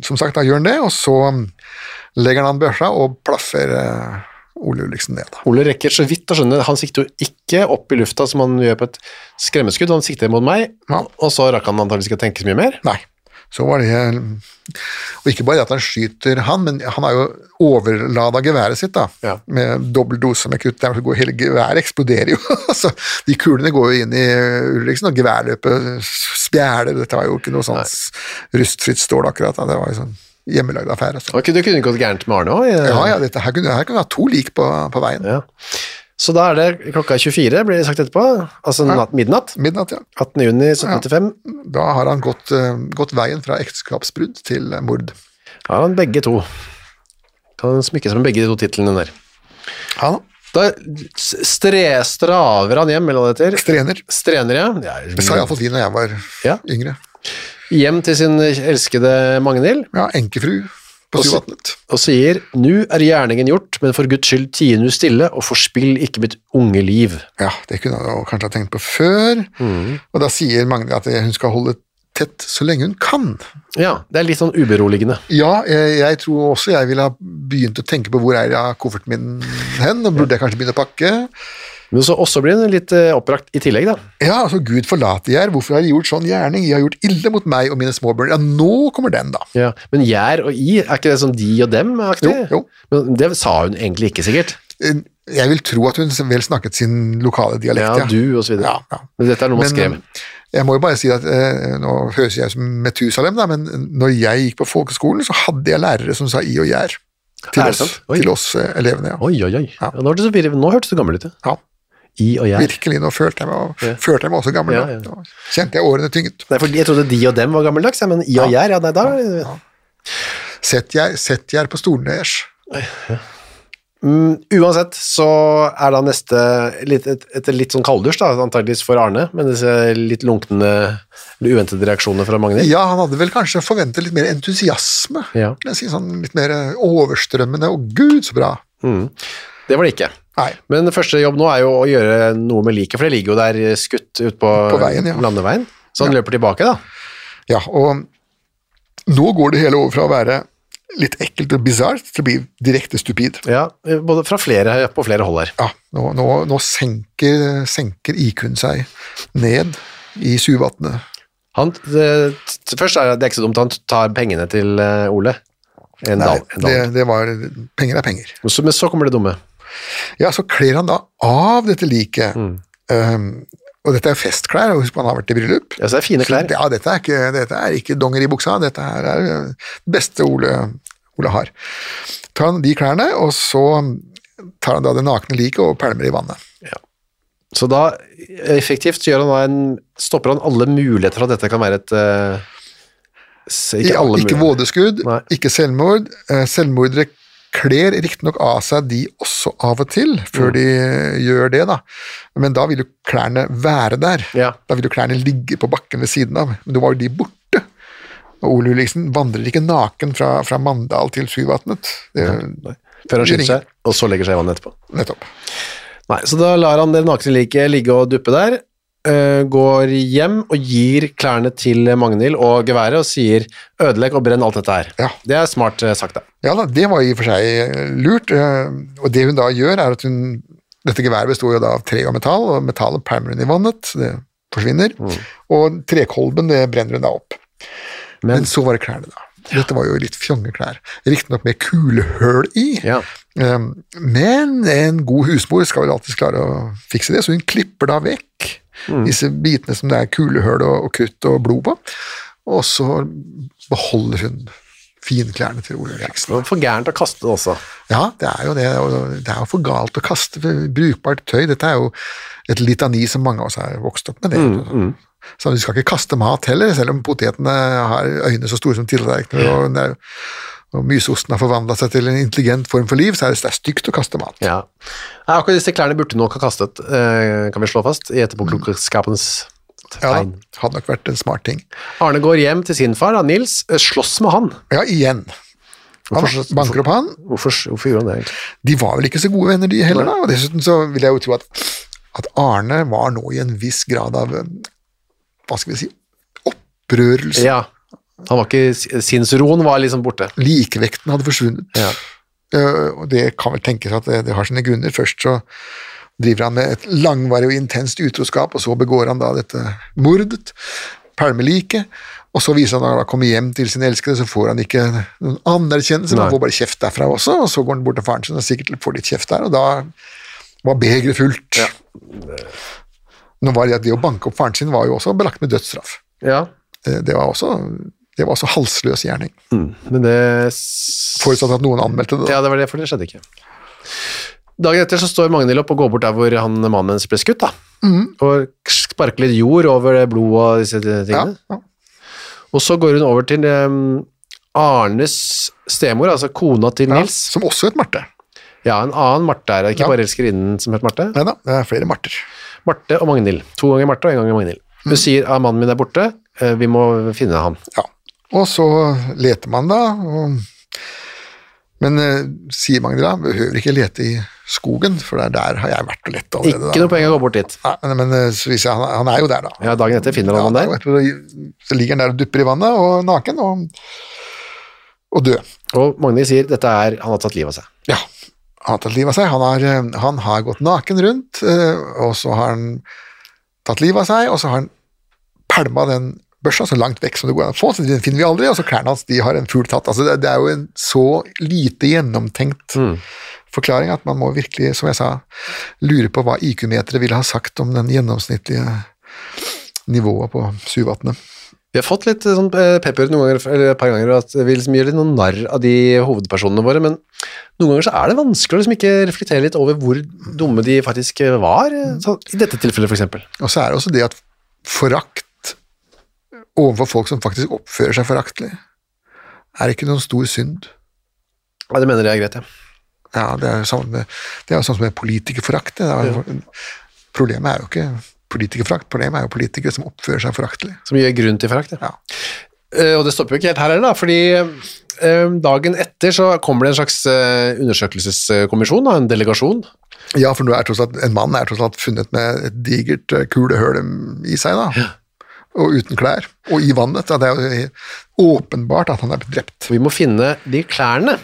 Speaker 3: som sagt, da gjør han det, og så mm, legger han an børsa og plaffer eh, Ole Ulriksen ned. Da.
Speaker 2: Ole rekker så vidt å skjønne, han sikter jo ikke opp i lufta som han gjør på et skremmeskudd, han sikter mot meg,
Speaker 3: Ja.
Speaker 2: og så rakk han antageligvis ikke å tenke så mye mer.
Speaker 3: Nei, så var det Og ikke bare det at han skyter han, men han har jo overlada geværet sitt, da.
Speaker 2: Ja.
Speaker 3: Med dobbel dose med krutt. Der går hele geværet eksploderer jo. [laughs] altså, de kulene går jo inn i Ulriksen, og geværløpet spjæler. Dette var jo ikke noe sånn s- rustfritt stål, akkurat. Da. Det var jo sånn hjemmelagd affære. Altså.
Speaker 2: Ok, det kunne gått gærent med Arne også. eh.
Speaker 3: Ja, ja, dette her kunne, her kunne vi ha to lik på, på veien.
Speaker 2: Ja. Så da er det klokka 24, blir det sagt etterpå, altså natt, midnatt,
Speaker 3: Midnatt, ja.
Speaker 2: 18. juni 1795,
Speaker 3: Da har han gått, eh, gått veien fra ekteskapsbrudd til eh, mord.
Speaker 2: har han begge to. Kan smykke seg med begge de to titlene der.
Speaker 3: Ja da.
Speaker 2: Da s- stre, straver han hjem, eller hva det heter.
Speaker 3: Strener.
Speaker 2: Strener, ja. Det er-
Speaker 3: Det sa iallfall de når jeg var
Speaker 2: Ja.
Speaker 3: yngre.
Speaker 2: Hjem til sin elskede Magnhild
Speaker 3: Ja, enkefru på
Speaker 2: Og så-
Speaker 3: Suvatnet.
Speaker 2: og sier «Nu er gjerningen gjort, men for Guds skyld tie nu stille, og forspill ikke mitt unge liv».
Speaker 3: Ja, det kunne jeg jo kanskje ha tenkt på før.
Speaker 2: Mm.
Speaker 3: Og da sier Magne at hun skal holde tett så lenge hun kan.
Speaker 2: Ja, det er litt sånn uberoligende.
Speaker 3: Ja, jeg, jeg tror også jeg ville ha begynt å tenke på hvor er jeg av kofferten min hen, og burde jeg kanskje begynne å pakke?
Speaker 2: Men så også blir den litt eh, oppbrakt i tillegg, da.
Speaker 3: Ja, altså Gud forlater jeg, hvorfor har de gjort sånn gjerning? De har gjort ille mot meg og mine småbørn. Ja, nå kommer den da.
Speaker 2: Ja. Men gjær og i, er ikke det sånn de og dem-aktig?
Speaker 3: Jo, jo.
Speaker 2: Men det sa hun egentlig ikke, sikkert.
Speaker 3: Jeg vil tro at hun vel snakket sin lokale dialekt.
Speaker 2: Ja, du og så videre.
Speaker 3: Ja, ja.
Speaker 2: Men dette er noe man skrev.
Speaker 3: Men, eh, Jeg må jo bare si at eh, nå høres jeg ut som Metusalem, da, men når jeg gikk på folkeskolen, så hadde jeg lærere som sa i og gjær til
Speaker 2: Er det
Speaker 3: oss,
Speaker 2: sant? Oi.
Speaker 3: til oss eh, elevene. Ja.
Speaker 2: Oi, oi, oi. Ja. nå, hørtes du, nå hørtes du gammel ut, ja.
Speaker 3: Ja,
Speaker 2: I og gjær.
Speaker 3: virkelig. Nå følte jeg meg, og,
Speaker 2: Ja.
Speaker 3: følte jeg meg også gammel.
Speaker 2: Ja, ja.
Speaker 3: da. Da Kjente jeg årene tynget.
Speaker 2: Nei, for jeg trodde de og dem var gammeldags, ja, men i og gjær, ja, nei, da
Speaker 3: Sett jeg, sett jeg på stolene deres.
Speaker 2: Mm, Uansett så er da neste litt, et, et litt sånn kalddusj, da, antakeligvis for Arne, med disse litt lunkne, eller uventede reaksjonene fra Magnhild.
Speaker 3: Ja, han hadde vel kanskje forventet litt mer entusiasme.
Speaker 2: Ja.
Speaker 3: Jeg sier sånn litt mer eh, overstrømmende, og gud, så bra.
Speaker 2: Mm. Det var det ikke.
Speaker 3: Nei.
Speaker 2: Men første jobb nå er jo å gjøre noe med liket, for det ligger jo der skutt ut på,
Speaker 3: På veien, ja.
Speaker 2: landeveien. Så han løper tilbake, da.
Speaker 3: Ja, og nå går det hele over fra å være litt ekkelt og bisart til å bli direkte stupid.
Speaker 2: Ja, både fra flere, på flere hold her.
Speaker 3: Ja, nå, nå, nå senker, senker IQ-en seg ned i suvatnet.
Speaker 2: Han, det, t- først er det ikke så dumt, han tar pengene til eh, Ole. En
Speaker 3: Nei,
Speaker 2: dal. En
Speaker 3: det,
Speaker 2: dal.
Speaker 3: det var Penger er penger.
Speaker 2: Men så- Men så kommer det dumme.
Speaker 3: Ja, så kler han da av dette liket. Um, og dette er festklær, og husk på han har vært i bryllup.
Speaker 2: Ja, så det er fine klær.
Speaker 3: Ja, dette er ikke, dette er ikke dongeribuksa, dette her er eh, det beste Ole, Ole har. Tar han de klærne, og så tar han da det nakne liket og pælmer i vannet.
Speaker 2: Så da, effektivt, så gjør han da en, stopper han alle muligheter for at dette kan være et eh, s- Ikke
Speaker 3: Ja,
Speaker 2: alle
Speaker 3: ikke
Speaker 2: muligheter.
Speaker 3: vådeskudd,
Speaker 2: Nei.
Speaker 3: ikke selvmord. Eh, Selvmordere kler riktignok av seg de også av og til,
Speaker 2: Mm.
Speaker 3: før de eh, gjør det, da. Men da vil jo klærne være der.
Speaker 2: Ja.
Speaker 3: Da vil jo klærne ligge på bakken ved siden av. Men da var jo de borte. Og Ole Ulriksen vandrer ikke naken fra, fra Mandal til Syvatnet. Det,
Speaker 2: Før han
Speaker 3: det
Speaker 2: skyter
Speaker 3: ringer.
Speaker 2: seg, og så legger seg i vannet etterpå.
Speaker 3: Nettopp.
Speaker 2: Nei, Så da lar han det nakne liket ligge og duppe der, eh, går hjem og gir klærne til Magnhild og geværet og sier 'ødelegg og brenn alt dette her'.
Speaker 3: Ja.
Speaker 2: Det er smart eh, sagt, da.
Speaker 3: Ja da, det var i og for seg eh, lurt. eh, Og det hun da gjør, er at hun Dette geværet består jo da av tre og metall, og metallet pælmer hun i vannet. Det forsvinner. Og trekolben det brenner hun da opp. Men, så var det klærne, da. Dette var jo litt fjonge klær. Riktignok med kulehull i,
Speaker 2: Ja.
Speaker 3: eh, men en god husmor skal vel alltids klare å fikse det, så hun klipper da vekk disse bitene som det er kulehull og, og krutt og blod på, og så beholder hun finklærne til Ole Eriksen.
Speaker 2: Det var for gærent å kaste det også.
Speaker 3: Ja, det er jo det. og Det er jo for galt å kaste brukbart tøy. Dette er jo et litani som mange av oss har vokst opp med. det. Så du skal ikke kaste mat heller, selv om potetene har øyne så store som tillerkener, og, det er- og myseosten har forvandla seg til en intelligent form for liv, så er det, det er stygt å kaste mat.
Speaker 2: Ja. Nei, akkurat disse klærne burde nok ha kastet, eh, kan vi slå fast, i etterpåklokskapens
Speaker 3: Ja, da,
Speaker 2: tegn.
Speaker 3: hadde nok vært en smart ting.
Speaker 2: Arne går hjem til sin far, da, Nils, eh, slåss med han.
Speaker 3: Ja, igjen. Han
Speaker 2: Hvorfor-
Speaker 3: banker opp han.
Speaker 2: Hvorfor, hvorfor gjorde han det egentlig?
Speaker 3: De var vel ikke så gode venner, de heller, da. Og dessuten så vil jeg jo tro at, at Arne var nå i en viss grad av eh, Hva skal vi si opprørelse.
Speaker 2: Ja, han var ikke, sinnsroen var liksom borte.
Speaker 3: Likevekten hadde forsvunnet.
Speaker 2: Ja.
Speaker 3: Eh, Og det kan vel tenkes at det, det har sine grunner. Først så driver han med et langvarig og intenst utroskap, og så begår han da dette mordet, pælmeliket. Og så viser han når han da kommer hjem til sin elskede, så får han ikke noen anerkjennelse, men
Speaker 2: Nei.
Speaker 3: han får bare kjeft derfra også, og så går han bort til faren sin og sikkert får litt kjeft der, og da var begeret fullt. Nå var det at det å banke opp faren sin var jo også belagt med dødsstraff.
Speaker 2: Ja,
Speaker 3: Eh, Det var også, det var også halsløs gjerning,
Speaker 2: men det... s-
Speaker 3: forutsatt at noen anmeldte det.
Speaker 2: Ja,
Speaker 3: da.
Speaker 2: det var det, for det skjedde ikke. Dagen etter så står Magnhild opp og går bort der hvor han mannen hennes ble skutt, da. Og sparker litt jord over det blodet og disse tingene.
Speaker 3: ja.
Speaker 2: Og så går hun over til eh, Arnes stemor, altså kona til
Speaker 3: Ja,
Speaker 2: Nils.
Speaker 3: som også het Marte.
Speaker 2: Ja, en annen Marte er det, ikke
Speaker 3: Ja.
Speaker 2: bare elskerinnen som heter Marte.
Speaker 3: Nei da, det er flere Marter.
Speaker 2: Marte og Magnhild. To ganger Marte og en gang Magnhild. Hun sier at mannen min er borte, eh, vi må finne ham.
Speaker 3: Ja. Og så leter man, da. Og... Men eh, sier Magnhild da, behøver ikke lete i skogen, for det er der har jeg vært og lett
Speaker 2: Ikke
Speaker 3: allerede.
Speaker 2: noe poeng å gå bort dit.
Speaker 3: Nei, men, men eh, så viser jeg, han, han er jo der, da.
Speaker 2: Ja, dagen etter finner
Speaker 3: Ja,
Speaker 2: han ham
Speaker 3: og
Speaker 2: der,
Speaker 3: etterpå så ligger han der og dupper i vannet, og naken, og, og død.
Speaker 2: og Magnhild sier dette er han har tatt livet av seg.
Speaker 3: Ja, han har tatt livet av seg. Han har, eh, han har gått naken rundt, eh, og så har han tatt livet av seg, og så har han pælma den børsa så langt vekk som det går an å få, så den finner vi aldri, og så klærne hans de har en fugl tatt. Altså, det, det er jo en så lite gjennomtenkt forklaring at man må virkelig, som jeg sa, lure på hva IQ-meteret ville ha sagt om den gjennomsnittlige nivået på Suvatnet.
Speaker 2: Vi har fått litt eh, sånn eh, pepper noen ganger, eller et par ganger, at vi liksom gjør litt noen narr av de hovedpersonene våre, men noen ganger så er det vanskelig å liksom ikke reflektere litt over hvor dumme de faktisk eh, var, eh, så, i dette tilfellet for eksempel.
Speaker 3: Og så er det også det at forakt overfor folk som faktisk oppfører seg foraktelig, er ikke noen stor synd.
Speaker 2: Ja, det mener jeg er greit, ja.
Speaker 3: Ja, Det er jo sånn, med, det er jo sånn som med politikerforakt. Det er, jo- Problemet er jo ikke politikerforakt, problemet er jo politikere som oppfører seg foraktelig.
Speaker 2: Som gjør grunn til forakt, ja.
Speaker 3: Ja.
Speaker 2: Eh, og det stopper jo ikke helt her heller, da, fordi eh, dagen etter så kommer det en slags eh, undersøkelseskommisjon, da, en delegasjon.
Speaker 3: Ja, for nå er tross alt, en mann er tross alt funnet med et digert eh, kulehøl i seg, da. Og uten klær. Og i vannet. Da. Det er jo helt åpenbart at han er blitt drept.
Speaker 2: Vi må finne de klærne.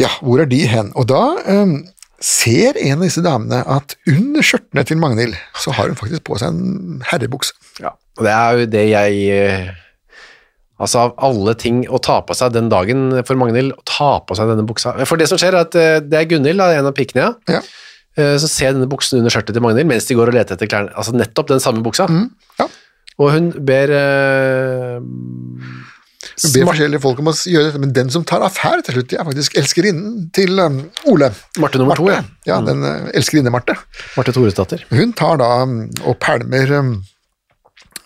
Speaker 3: Ja, hvor er de hen? Og da ehm, ser en av disse damene at under skjørtene til Magnhild, så har hun faktisk på seg en herrebukse.
Speaker 2: Ja, og det er jo det jeg eh, Altså, av alle ting å ta på seg den dagen for Magnhild, å ta på seg denne buksa For det som skjer, er at eh, det er Gunhild, da, en av pikene, ja,
Speaker 3: Ja,
Speaker 2: eh, som ser denne buksen under skjørtet til Magnhild mens de går og leter etter klærne. Altså nettopp den samme buksa.
Speaker 3: ja.
Speaker 2: Og hun ber eh,
Speaker 3: Hun ber
Speaker 2: Smart.
Speaker 3: forskjellige folk om å gjøre dette, men den som tar affære til slutt, det er faktisk elskerinnen til ehm, Ole.
Speaker 2: Marte nummer to, ja.
Speaker 3: Ja, den eh, elskerinne Marte.
Speaker 2: Marte Thoresdatter.
Speaker 3: Hun tar da mm, og pælmer mm,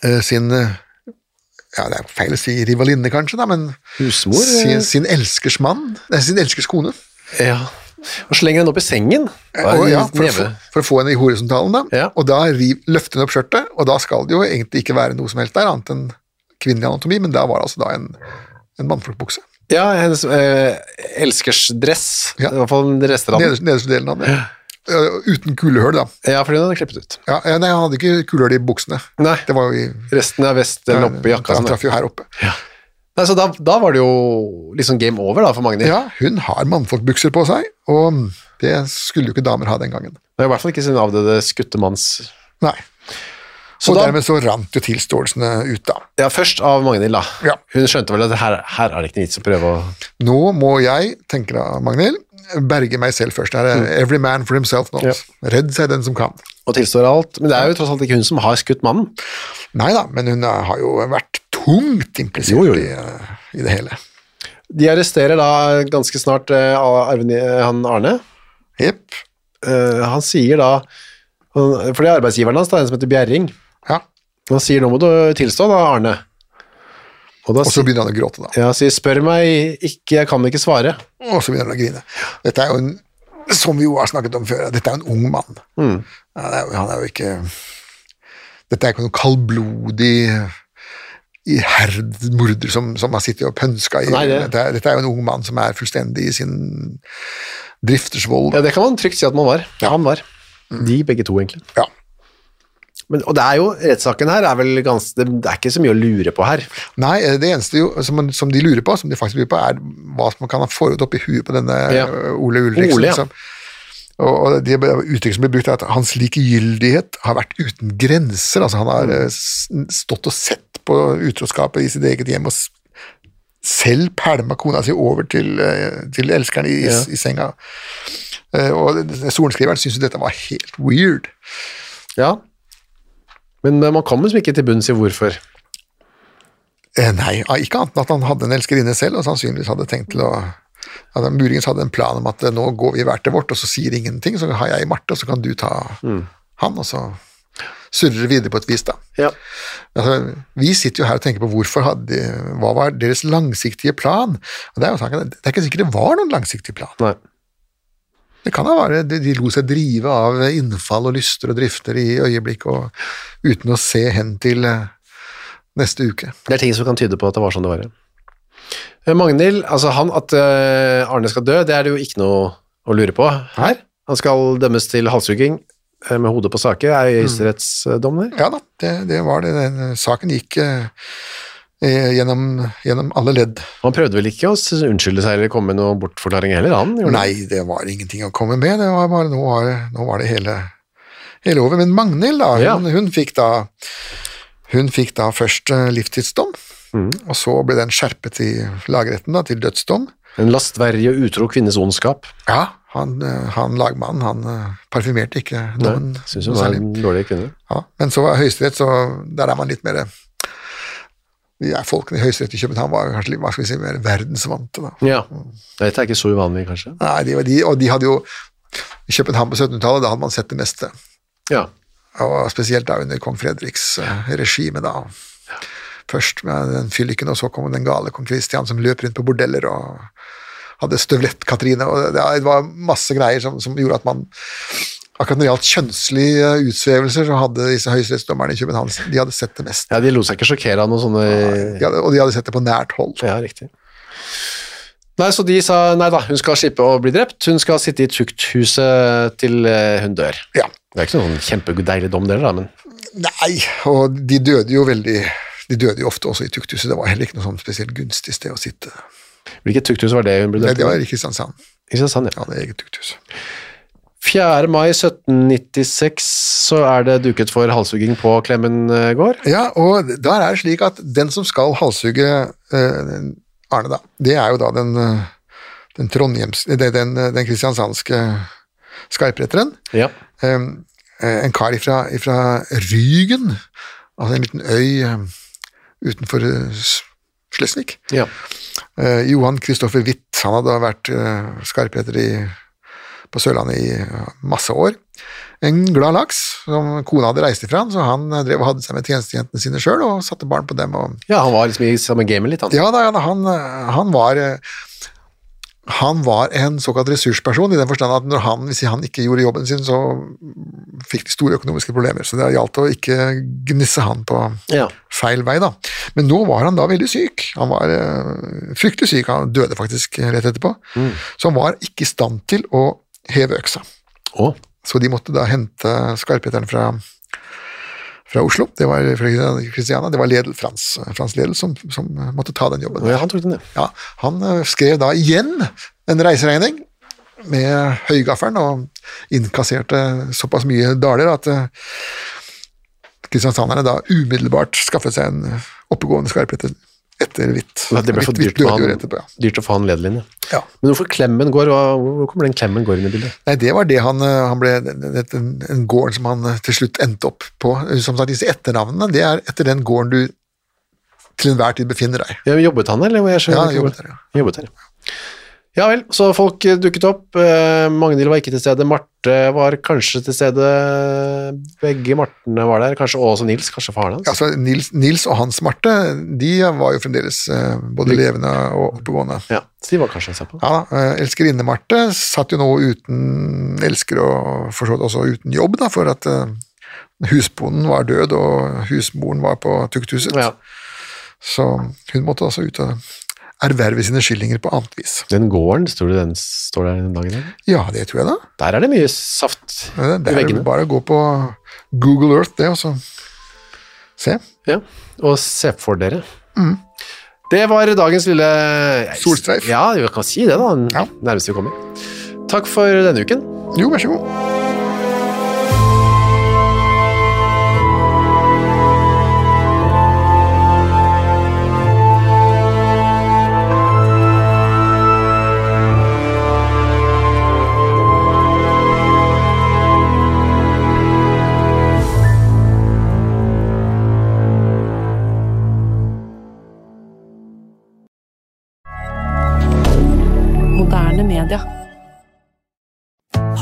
Speaker 3: eh, sin eh, ja, Det er feil å si rivalinne, kanskje, da, men
Speaker 2: Husmor, eh.
Speaker 3: sin, sin elskers mann. Nei, sin elskers kone.
Speaker 2: Ja. Og slenger henne opp i sengen.
Speaker 3: Eh, Og, ja, for, å få,
Speaker 2: Neve.
Speaker 3: for å få henne i horisontalen, da.
Speaker 2: Ja.
Speaker 3: Og da riv, løfter hun opp skjørtet, og da skal det jo egentlig ikke være noe som helst der, annet enn kvinnelig anatomi, men der var det altså da en, en mannfolkbukse.
Speaker 2: Ja, hennes eh, elskers-dress.
Speaker 3: Ja.
Speaker 2: I hvert fall den rester av den.
Speaker 3: Nederste, nederste delen av den. Eh, Uten kulehull, da.
Speaker 2: Ja, fordi hun hadde klippet ut.
Speaker 3: Ja, eh, nei, han hadde ikke kulehull i buksene.
Speaker 2: Nei,
Speaker 3: Det var jo i
Speaker 2: resten av vesten oppe i jakka.
Speaker 3: Han
Speaker 2: Sånn.
Speaker 3: traff jo her oppe.
Speaker 2: Nei, så da, da var det jo liksom game over da, for Magnhild.
Speaker 3: Ja, hun har mannfolkbukser på seg, og det skulle jo ikke damer ha den gangen.
Speaker 2: Det var i hvert fall ikke sin avdøde skuttemanns...
Speaker 3: Nei.
Speaker 2: Så
Speaker 3: og
Speaker 2: da-
Speaker 3: dermed så rant jo tilståelsene ut, da.
Speaker 2: Ja, først av Magnhild da.
Speaker 3: Ja.
Speaker 2: Hun skjønte vel at her, her er det ikke noe vits å prøve å...
Speaker 3: Nå må jeg, tenker da Magnhild, berge meg selv først. Her
Speaker 2: Mm.
Speaker 3: er eh, every man for himself knows. Redd seg den som kan.
Speaker 2: Og tilstår alt, men det er jo tross alt ikke hun som har skutt mannen.
Speaker 3: Nei da, men hun eh, har jo vært tungt implisert
Speaker 2: Jo, jo, jo.
Speaker 3: I, eh, i det hele.
Speaker 2: De arresterer da ganske snart eh, Arven, eh, han Arne.
Speaker 3: Jepp.
Speaker 2: Eh, han sier da, han, for det er arbeidsgiveren hans da, en som heter Bjerring,
Speaker 3: Ja.
Speaker 2: han sier nå må du tilstå da, Arne. Og da
Speaker 3: Og så
Speaker 2: sier,
Speaker 3: begynner han å gråte, da.
Speaker 2: ja, sier, spør meg ikke, jeg kan ikke svare.
Speaker 3: Og så begynner han å grine. Dette er jo en, som vi jo har snakket om før, dette er jo en ung mann.
Speaker 2: Mm.
Speaker 3: Ja, det er jo- han er jo ikke Dette er ikke noen kaldblodig iherdig som, som har sittet og pønska i
Speaker 2: Nei, det-
Speaker 3: dette, er, dette er jo en ung mann som er fullstendig i sin driftersvold.
Speaker 2: Ja, det kan man trygt si at man var. Han var. De begge to egentlig.
Speaker 3: Ja.
Speaker 2: Mm. Men, og det er jo, rettssaken her er vel ganske, det det er ikke så mye å lure på her.
Speaker 3: Nei, eh, det eneste jo, som, man- som de lurer på, som de faktisk lurer på, er hva som kan ha foregått oppi huet på denne
Speaker 2: Ja.
Speaker 3: eh, Ole Ulriksen.
Speaker 2: Ole, ja.
Speaker 3: liksom. Og, og det uttrykket som blir brukt, er at hans likegyldighet har vært uten grenser. Altså, han
Speaker 2: Mm.
Speaker 3: har eh, s- stått og sett på utroskapet i sitt eget hjem og s- selv pælma kona si over til, eh, til elskeren i,
Speaker 2: Ja.
Speaker 3: i senga. Eh, Og sorenskriveren syntes jo dette var helt weird.
Speaker 2: Ja. Men eh, man kommer liksom ikke til bunns i hvorfor.
Speaker 3: Eh, Nei, ah, ikke annet enn at han hadde en elskerinne selv, og sannsynligvis hadde tenkt til å at han Muligens hadde en plan om at eh, nå går vi hver til vårt, og så sier ingenting, så har jeg Marte, og så kan du ta han, og så surrer videre på et vis, da.
Speaker 2: Ja.
Speaker 3: Altså, vi sitter jo her og tenker på hvorfor hadde, hva var deres langsiktige plan. Og det er jo saken, det er ikke sikkert det var noen langsiktig plan.
Speaker 2: Nei.
Speaker 3: Det kan da være de, de lot seg drive av innfall og lyster og drifter i øyeblikk, og, uten å se hen til eh, neste uke.
Speaker 2: Det er ting som kan tyde på at det var sånn det var. ja. Eh, Magnhild, altså han at eh, Arne skal dø, det er det jo ikke noe å lure på her. Han skal dømmes til halshugging eh, med hodet på sake, er
Speaker 3: Mm.
Speaker 2: høyesterettsdommer.
Speaker 3: Ja da, det, det var det. Den, saken gikk eh, eh, gjennom, gjennom alle ledd.
Speaker 2: Han prøvde vel ikke å s- unnskylde seg eller komme med noen bortforklaring heller, han? gjorde han?
Speaker 3: Nei, det var ingenting å komme med. Det var bare, nå, var, det- nå var det hele, hele over. Men Magnhild, da,
Speaker 2: Ja.
Speaker 3: hun, hun, fikk da hun fikk da først eh, livstidsdom,
Speaker 2: Mm.
Speaker 3: og så ble den skjerpet i lagretten da, til dødsdom.
Speaker 2: En lastverdig og utro kvinnes ondskap.
Speaker 3: Ja, han, eh, han lagmannen, han eh, parfymerte ikke dommen.
Speaker 2: Nei, Synes
Speaker 3: noe
Speaker 2: hun er
Speaker 3: særlig.
Speaker 2: en dårlig kvinne.
Speaker 3: Ja, men så var Høyesterett, så der er man litt mer de er Folkene i Høyesterett i København var kanskje litt hva skal vi si, mer verdensvante, da.
Speaker 2: Ja, dette er ikke så uvanlig, kanskje.
Speaker 3: Nei, de, var- de, og de hadde jo I København på 1700-tallet, da hadde man sett det meste.
Speaker 2: Ja,
Speaker 3: Og spesielt da under kong Fredriks eh, regime, da. Først med den fylliken, og så kom den gale kong Kristian som løp rundt på bordeller og hadde støvlett-Katrine. og Det det var masse greier som, som gjorde at man Akkurat når det gjaldt kjønnslige eh, utsvevelser, så hadde disse høyesterettsdommerne i København de hadde sett det mest.
Speaker 2: ja de lot seg ikke sjokkere av noen sånne
Speaker 3: De hadde, og de hadde sett det på nært hold.
Speaker 2: Ja, riktig. Nei, så de sa nei da, hun skal slippe å bli drept. Hun skal sitte i tukthuset til eh, hun dør.
Speaker 3: Ja.
Speaker 2: Det er ikke noen kjempedeilig dom, dere, da, men
Speaker 3: Nei, og de døde jo veldig De døde jo ofte også i tukthuset. Det var heller ikke noe sånn spesielt gunstig sted å sitte.
Speaker 2: hvilket tukthus var det hun ble
Speaker 3: Nei,
Speaker 2: drept i?
Speaker 3: det var i Kristiansand.
Speaker 2: Kristiansand, ja.
Speaker 3: Ja, det er eget tukthus.
Speaker 2: 4. mai 1796 så er det duket for halshugging på Klemmen eh, gård.
Speaker 3: Ja, og der er det slik at den som skal halshugge eh, Arne, da, det er jo da den, eh, den trondhjems... det- Den, eh, den kristiansandske skarpretteren.
Speaker 2: Ja.
Speaker 3: Eh, eh, en kar ifra, ifra Rygen, altså en liten øy eh, utenfor eh, S- Slesvig.
Speaker 2: ja.
Speaker 3: Eh, Johan Kristoffer Witt, han hadde vært eh, skarpretter i, på Sørlandet i eh, masse år. En glad laks som kona hadde reist ifra, så han eh, drev og hadde seg med tjenestejentene sine sjøl og satte barn på dem. Og,
Speaker 2: ja, han var liksom i samme gamet litt, han.
Speaker 3: ja da, ja da, han, eh, han var eh, han var en såkalt ressursperson, i den forstand at når han, hvis han ikke gjorde jobben sin, så fikk de store økonomiske problemer. Så det gjaldt å ikke gnisse han på
Speaker 2: Ja.
Speaker 3: feil vei, da. Men nå var han da veldig syk. Han var eh, fryktelig syk, han døde faktisk rett etterpå. Så han var ikke i stand til å heve øksa.
Speaker 2: Å,
Speaker 3: Så de måtte da hente skarpheteren fra, fra Oslo, det var fra Kristiania, det var Ledel, Frans, Frans Ledel som, som måtte ta den jobben.
Speaker 2: ja, han tok den, ja.
Speaker 3: Ja, han eh, skrev da igjen en reiseregning med høygaffelen og innkasserte såpass mye daler at eh, kristiansanderne da umiddelbart skaffet seg en oppegående skarphet etter hvitt.
Speaker 2: Det ble for dyrt,
Speaker 3: døde
Speaker 2: med
Speaker 3: jo rett etterpå,
Speaker 2: han,
Speaker 3: ja.
Speaker 2: dyrt å få han ledelinje.
Speaker 3: Ja.
Speaker 2: Men hvorfor Klemmen gård? hva- Hvor kommer den Klemmen gård inn i bildet?
Speaker 3: Nei, det var det han, eh, han ble det- den, den gården som han eh, til slutt endte opp på. Eh, Som sagt, disse etternavnene, det er etter den gården du til enhver tid befinner deg.
Speaker 2: Ja, jobbet han, eller? Jeg skjønner
Speaker 3: Ja,
Speaker 2: ikke hvor-
Speaker 3: jobbet der, ja.
Speaker 2: Jobbet her, ja. Ja vel, så folk eh, dukket opp. Eh, Magnhild var ikke til stede. Marte var kanskje til stede. Begge Martene var der. Kanskje Åse og Nils, kanskje faren hans.
Speaker 3: Altså, Nils, Nils og Hans Marte, de var jo fremdeles eh, både levende og oppegående.
Speaker 2: Ja, så de var kanskje sammen.
Speaker 3: Ja, da, eh, Elskerinne Marte satt jo nå uten elsker og for så vidt også uten jobb, da, for at eh, husbonden var død og husmoren var på tukthuset.
Speaker 2: Ja.
Speaker 3: Så hun måtte altså ut og erverve sine skillinger på annet vis.
Speaker 2: Den gården, tror du den står der den dagen? eller?
Speaker 3: Ja, det tror jeg da. Eh,
Speaker 2: Der er det mye saft
Speaker 3: Det
Speaker 2: i
Speaker 3: det er vel
Speaker 2: veggene.
Speaker 3: bare å gå på Google Earth, det, og så se.
Speaker 2: Ja, og se for dere. Det var dagens lille
Speaker 3: Mm. Solstreif.
Speaker 2: Ja, vi kan si det, da. Den
Speaker 3: Ja.
Speaker 2: Nærmeste vi kommer. Takk for denne uken.
Speaker 3: Jo, vær så god.
Speaker 4: Moderne media.